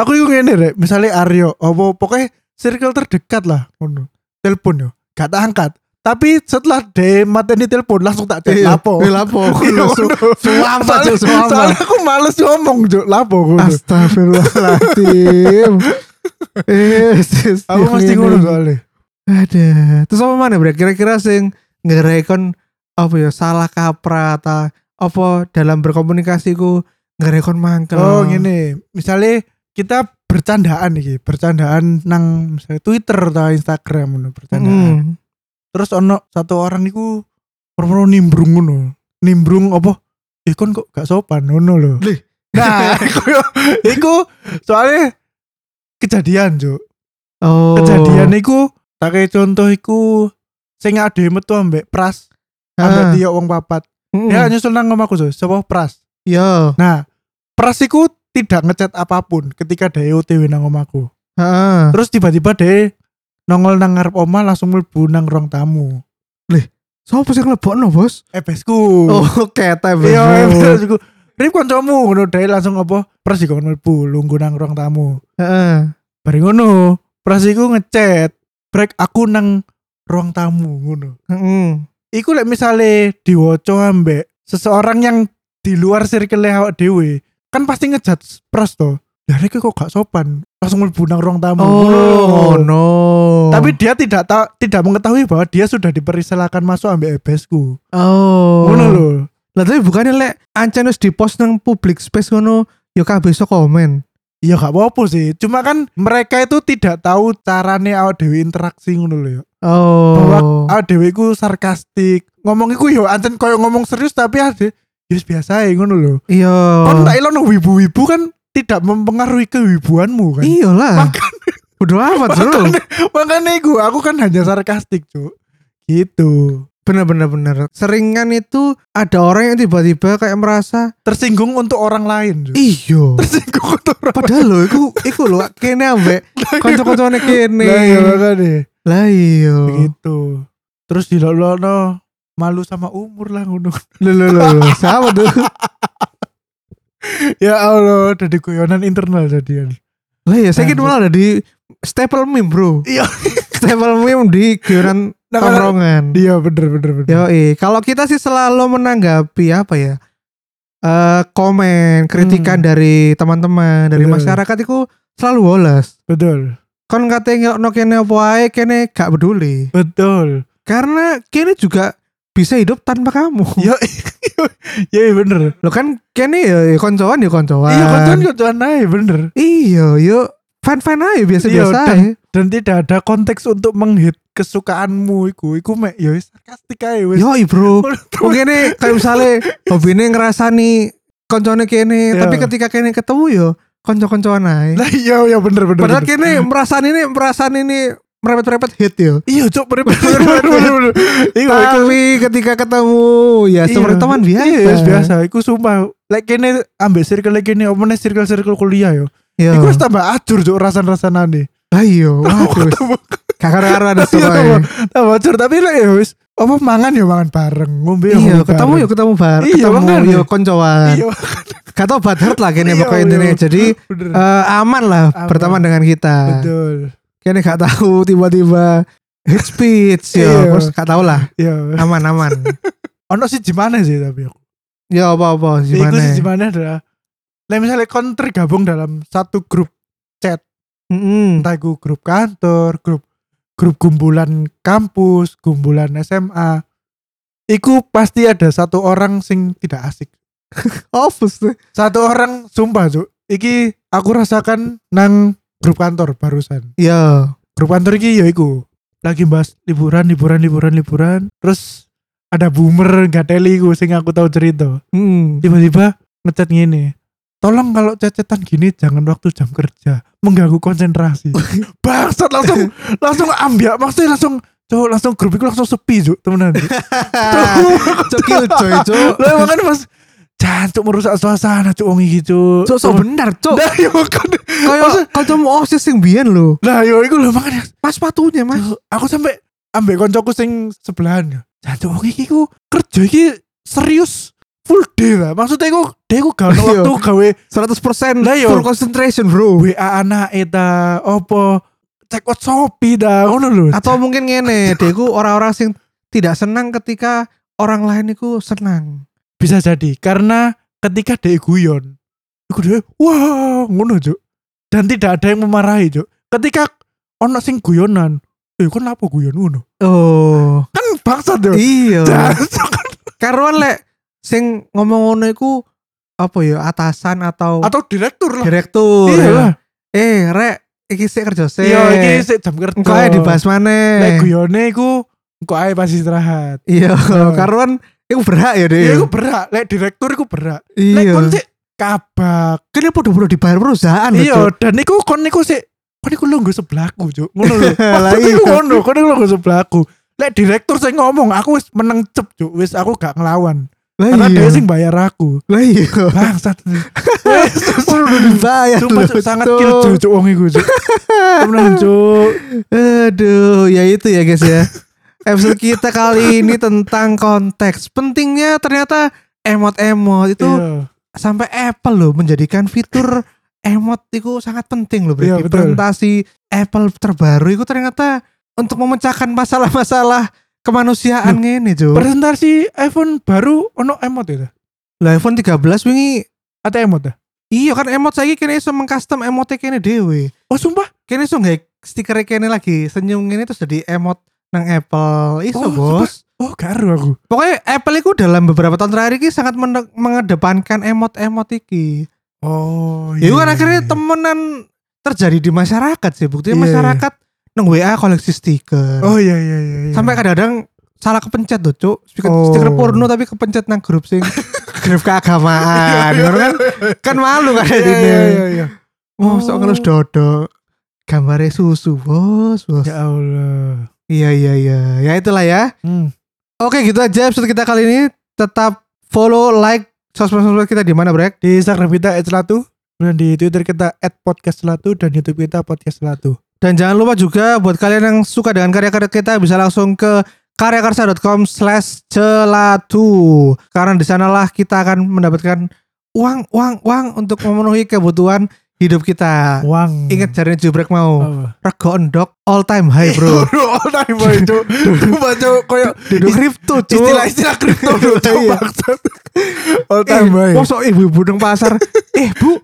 Speaker 2: aku itu ngene rek misalnya Aryo apa pokoknya circle terdekat lah ngono telepon yo gak tak angkat tapi setelah de mateni telepon langsung tak cek
Speaker 1: Iya,
Speaker 2: lapo
Speaker 1: iya, lapo.
Speaker 2: Iya,
Speaker 1: Su-
Speaker 2: ngono.
Speaker 1: suwama, Cuk,
Speaker 2: Soalnya-
Speaker 1: suwama.
Speaker 2: soalnya aku males ngomong cuk lapo ngono.
Speaker 1: Astagfirullahaladzim. Eh, sis,
Speaker 2: aku
Speaker 1: yang
Speaker 2: mesti
Speaker 1: ini.
Speaker 2: ngono soalnya
Speaker 1: Ada. Terus apa mana bre? Kira-kira sing ngerekon apa ya salah kaprah ta apa dalam berkomunikasi ku ngerekon mangkel.
Speaker 2: Oh gini, misalnya kita bercandaan iki, bercandaan nang misalnya Twitter atau Instagram ngono
Speaker 1: Mm.
Speaker 2: bercandaan. Terus ono satu orang niku perlu nimbrung ngono. Nimbrung apa? Eh kon kok gak sopan ngono lho.
Speaker 1: Lih.
Speaker 2: Nah, iku, iku soalnya kejadian, Cuk.
Speaker 1: Oh.
Speaker 2: Kejadian iku tak kayak contoh iku sing ade metu ambek Pras,
Speaker 1: Ah.
Speaker 2: ambek dia wong papat.
Speaker 1: Mm.
Speaker 2: Ya nyusul nang omahku, Cuk. Sapa Pras?
Speaker 1: Yo.
Speaker 2: Nah, Prasiku tidak ngechat apapun ketika dia OTW nang omahku.
Speaker 1: Heeh.
Speaker 2: Terus tiba-tiba dia nongol nang ngarep oma langsung mlebu nang ruang tamu. Eh,
Speaker 1: Sopo sing lebokno, Bos?
Speaker 2: Ebesku.
Speaker 1: Oh, kete, Bos.
Speaker 2: Hmm. iya, ebesku. Rip kancamu ngono dia langsung apa? Pras dikon mlebu lungguh nang ruang tamu.
Speaker 1: Heeh.
Speaker 2: Bari ngono, Prasiku ngechat break aku nang ruang tamu ngono.
Speaker 1: Heeh.
Speaker 2: Iku lek misale diwaca ambek seseorang yang di luar circle e awak dhewe, kan pasti ngejat pras to. Dari kok gak sopan, langsung mlebu nang ruang tamu.
Speaker 1: Oh,
Speaker 2: Ngono.
Speaker 1: no.
Speaker 2: Tapi dia tidak tahu tidak mengetahui bahwa dia sudah dipersilakan masuk ambek ebesku.
Speaker 1: oh.
Speaker 2: Ngono lho.
Speaker 1: Lah tapi bukannya lek ancen wis di-post nang public space ngono ya kabeh iso komen.
Speaker 2: Ya gak apa-apa sih. Cuma kan mereka itu tidak tahu carane awak dhewe interaksi ngono lho ya.
Speaker 1: Oh.
Speaker 2: Awak dhewe iku sarkastik. Ngomong iku yo ancen koyo ngomong serius tapi ade yes biasa ae ngono lho.
Speaker 1: Iya.
Speaker 2: Kon tak ilono wibu-wibu kan tidak mempengaruhi kewibuanmu kan.
Speaker 1: Iya lah.
Speaker 2: Makan-
Speaker 1: Udah apa Jul?
Speaker 2: Makanya iku aku kan hanya sarkastik, Cuk. Gitu.
Speaker 1: Bener bener bener. Seringan itu ada orang yang tiba-tiba kayak merasa
Speaker 2: Tersinggung untuk orang lain, Cuk.
Speaker 1: Iya. iyo.
Speaker 2: Tersinggung untuk orang
Speaker 1: Padahal lo, iku iku lo kene ambek kanca-kancane kene.
Speaker 2: iya. Lah iya makanya.
Speaker 1: Lah iya.
Speaker 2: Gitu. Terus di no malu sama umur lah ngono.
Speaker 1: Lo lo lo lo. Sama tuh.
Speaker 2: ya Allah, dari guyonan internal jadian.
Speaker 1: Lah ya saya kira malah ada di staple meme bro.
Speaker 2: Nah, Iya.
Speaker 1: Staple meme di kiran
Speaker 2: Nah, kalau-
Speaker 1: tongkrongan.
Speaker 2: Iya bener bener bener.
Speaker 1: Yo, kalau kita sih selalu menanggapi apa ya? eh komen,
Speaker 2: Hmm.
Speaker 1: kritikan dari teman-teman, dari
Speaker 2: Betul.
Speaker 1: masyarakat itu selalu woles.
Speaker 2: Betul.
Speaker 1: Kon katanya no kene apa wae, kene gak peduli.
Speaker 2: Betul.
Speaker 1: Karena kene juga bisa hidup tanpa kamu.
Speaker 2: Yo iya bener.
Speaker 1: Lo kan kene ya ya koncoan ya koncoan.
Speaker 2: Iya koncoan koncoan aja bener.
Speaker 1: Iya, yo fan-fan aja biasa-biasa
Speaker 2: Iya,
Speaker 1: aja.
Speaker 2: Dan tidak ada konteks untuk menghit kesukaanmu iku. Iku mek yo wis sarkastik ae wis.
Speaker 1: Yoi bro.
Speaker 2: Ngono.
Speaker 1: Mungkin nih kayak misalnya hobine ngerasani koncone kene,
Speaker 2: Iya.
Speaker 1: tapi ketika kene ketemu yo konco-koncoan ae.
Speaker 2: Lah iya ya bener bener.
Speaker 1: Padahal
Speaker 2: bener.
Speaker 1: kini perasaan ini perasaan ini merepet-merepet hit ya.
Speaker 2: Iya cok bener bener bener bener. bener. Iya, iku-
Speaker 1: Tapi ketika ketemu ya
Speaker 2: Iya.
Speaker 1: seperti teman biasa.
Speaker 2: Iya, wis biasa. Iku sumpah. Lek kene ambek circle lek kene omone circle-circle kuliah yo.
Speaker 1: Iya.
Speaker 2: Iku wis tambah acur cuk rasan-rasanane.
Speaker 1: Ah, iya. Waduh.
Speaker 2: Tambah-
Speaker 1: Kakak-kakak ada
Speaker 2: Iya,
Speaker 1: semuanya.
Speaker 2: Tambah acur tapi lek yo wis apa mangan yo mangan bareng, ngombe yo
Speaker 1: Iya,
Speaker 2: ngombe
Speaker 1: ketemu
Speaker 2: bareng.
Speaker 1: yuk ketemu bar,
Speaker 2: Iya,
Speaker 1: ketemu
Speaker 2: makanya.
Speaker 1: yuk koncoan.
Speaker 2: Iya.
Speaker 1: Gak tau bad heart lah kini
Speaker 2: Iya,
Speaker 1: pokoknya
Speaker 2: iya.
Speaker 1: intinya. Jadi
Speaker 2: Bener.
Speaker 1: eh, aman lah
Speaker 2: Aman.
Speaker 1: berteman dengan kita.
Speaker 2: Betul.
Speaker 1: Kini gak tahu tiba-tiba hate speech
Speaker 2: Iya.
Speaker 1: ya, terus gak tahu lah.
Speaker 2: Iya.
Speaker 1: Aman aman.
Speaker 2: ono sih gimana sih tapi aku.
Speaker 1: ya apa apa
Speaker 2: Iku sih
Speaker 1: gimana
Speaker 2: gimana adalah lah misalnya kon tergabung dalam satu grup
Speaker 1: Mm-mm.
Speaker 2: entah itu grup kantor, grup grup kumpulan kampus, kumpulan SMA. Iku pasti ada satu orang sing tidak asik.
Speaker 1: Opus tuh
Speaker 2: Satu orang sumpah, Cuk. Iki aku rasakan nang grup kantor barusan.
Speaker 1: ya
Speaker 2: Grup kantor iki ya iku. Lagi bahas liburan, liburan, liburan, liburan. Terus ada boomer gak teli iku sing aku tahu cerita.
Speaker 1: Mm.
Speaker 2: Tiba-tiba ngechat ngene. Tolong kalau cecetan gini jangan waktu jam kerja, mengganggu konsentrasi. Bangsat langsung langsung ambiak maksudnya langsung cowok langsung grup itu langsung sepi cuk temenan cuk.
Speaker 1: Ya. cok killjoy cok
Speaker 2: lah emang kan mas jancuk merusak suasana cuk wong iki cuk
Speaker 1: cok so benar cok
Speaker 2: nah yo kan
Speaker 1: kayak kancamu osis sing biyen lho
Speaker 2: nah yo iku lho makanya
Speaker 1: pas patunya mas
Speaker 2: Cuk, aku sampai ambek koncoku sing sebelahan ya jancuk wong iki ku kerja iki serius full day lah maksudnya iku dia ku gak ono
Speaker 1: Iya.
Speaker 2: waktu gawe
Speaker 1: 100%
Speaker 2: Lah, iya. yo.
Speaker 1: full concentration bro
Speaker 2: WA anak eta opo cek out Shopee dah ngono lho
Speaker 1: atau mungkin ngene deku orang-orang sing tidak senang ketika orang lain itu senang
Speaker 2: bisa jadi karena ketika dia guyon iku dhewe, wah ngono cuk dan tidak ada yang memarahi cuk ketika ono sing guyonan eh kon apa guyon ngono
Speaker 1: oh
Speaker 2: kan bangsa deh
Speaker 1: iya karuan lek sing ngomong ngono iku apa ya atasan atau
Speaker 2: atau direktur lah
Speaker 1: direktur
Speaker 2: iya lah
Speaker 1: eh rek iki sik kerja sik
Speaker 2: iya iki sik jam kerja
Speaker 1: engko ae dibahas
Speaker 2: Lek
Speaker 1: maneh
Speaker 2: guyone iku engko ae pas istirahat
Speaker 1: iya
Speaker 2: Heeh.
Speaker 1: karuan iku berhak ya deh
Speaker 2: iya iku berak lek direktur iku berak lek
Speaker 1: iya
Speaker 2: kon sik kabak
Speaker 1: kan iku podo-podo dibayar perusahaan lho,
Speaker 2: iya
Speaker 1: Cuk.
Speaker 2: dan iku kon iku sik kon iku lungguh sebelahku cuk ngono lho
Speaker 1: Lah
Speaker 2: maksudku iku
Speaker 1: iya.
Speaker 2: ngono kon iku lungguh sebelahku lek direktur sing ngomong aku wis meneng cep cuk wis aku gak ngelawan
Speaker 1: lah
Speaker 2: karena
Speaker 1: iya
Speaker 2: dia sing bayar aku
Speaker 1: lah iya
Speaker 2: bangsat
Speaker 1: podo dibayar
Speaker 2: Sumpah
Speaker 1: lho,
Speaker 2: Cuk, sangat
Speaker 1: Cuk.
Speaker 2: kill cuk cuk wong iku cuk temenan cuk
Speaker 1: Aduh, ya itu ya guys ya. Episode kita kali ini tentang konteks. Pentingnya ternyata emot-emot itu
Speaker 2: Iya.
Speaker 1: sampai Apple loh menjadikan fitur emot itu sangat penting loh. Berarti
Speaker 2: Iya, betul.
Speaker 1: presentasi Apple terbaru itu ternyata untuk memecahkan masalah-masalah kemanusiaan ini cuy.
Speaker 2: presentasi iPhone baru ono emot ya Ta?
Speaker 1: Lah iPhone 13 wingi
Speaker 2: ada emot ya
Speaker 1: iya kan emot saya kene iso mengcustom emotnya kene dhewe.
Speaker 2: oh sumpah
Speaker 1: Kene iso nggae stiker kene lagi senyum ini terus jadi emot nang Apple. Iso,
Speaker 2: Oh,
Speaker 1: Bos.
Speaker 2: oh garu aku
Speaker 1: Pokoknya Apple itu dalam beberapa tahun terakhir ini sangat mene- mengedepankan emot-emot iki.
Speaker 2: oh
Speaker 1: Ya itu kan akhirnya temenan terjadi di masyarakat sih. Buktinya
Speaker 2: Iya, iya.
Speaker 1: masyarakat neng WA koleksi stiker.
Speaker 2: oh iya iya iya iya.
Speaker 1: Sampai kadang-kadang salah kepencet tuh, Cuk. Stiker,
Speaker 2: Oh.
Speaker 1: stiker porno tapi kepencet nang grup sing grup keagamaan. Ngono kan kan malu kan
Speaker 2: iya
Speaker 1: ini.
Speaker 2: iya iya, iya
Speaker 1: Oh, sok ngelus dodo. Gambarnya susu, bos, bos.
Speaker 2: ya Allah
Speaker 1: Iya, iya, iya. Ya itulah ya.
Speaker 2: Hmm.
Speaker 1: Oke gitu aja episode kita kali ini Tetap follow, like Sosmed-sosmed kita di mana Brek?
Speaker 2: Di Instagram kita @selatu, kemudian di Twitter kita @podcastselatu dan YouTube kita podcastselatu.
Speaker 1: Dan jangan lupa juga buat kalian yang suka dengan karya-karya kita Bisa langsung ke karyakarsa.com slash celatu Karena di sanalah kita akan mendapatkan uang, uang, uang Untuk memenuhi kebutuhan hidup kita
Speaker 2: Wang.
Speaker 1: Ingat jarinya jubrek mau
Speaker 2: apa?
Speaker 1: Rego endok all time high bro
Speaker 2: oh, time boy itu. Coba cuk koyo
Speaker 1: Duduk kripto cuy
Speaker 2: istilah-istilah kripto Cuk,
Speaker 1: Iya.
Speaker 2: maksud. All
Speaker 1: Eh,
Speaker 2: time boy.
Speaker 1: mosok ibu-ibu nang pasar Eh bu,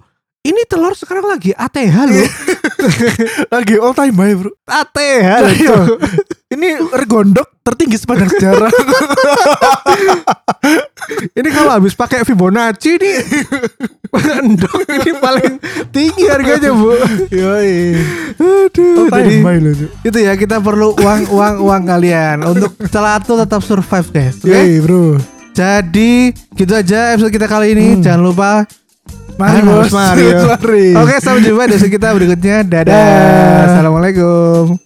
Speaker 1: ini telur sekarang lagi ATH loh
Speaker 2: Lagi all time boy, Bro.
Speaker 1: ATH
Speaker 2: Iya.
Speaker 1: loh
Speaker 2: Ini regondok tertinggi sepanjang sejarah.
Speaker 1: Ini kalau habis pakai Fibonacci nih endok ini paling tinggi harganya, Bu.
Speaker 2: Yoi.
Speaker 1: Aduh,
Speaker 2: Iya, All time
Speaker 1: jadi
Speaker 2: boy Eh? loh, Cuk.
Speaker 1: itu ya kita perlu uang uang uang kalian untuk celatu tetap survive, guys. Oke.
Speaker 2: Yoi, Iya, Bro.
Speaker 1: Jadi gitu aja episode kita kali ini. Jangan lupa
Speaker 2: Mari,
Speaker 1: Harus
Speaker 2: Bos.
Speaker 1: Mario.
Speaker 2: Mari.
Speaker 1: Oke, sampai jumpa di episode kita berikutnya. Dadah.
Speaker 2: Dah.
Speaker 1: Assalamualaikum.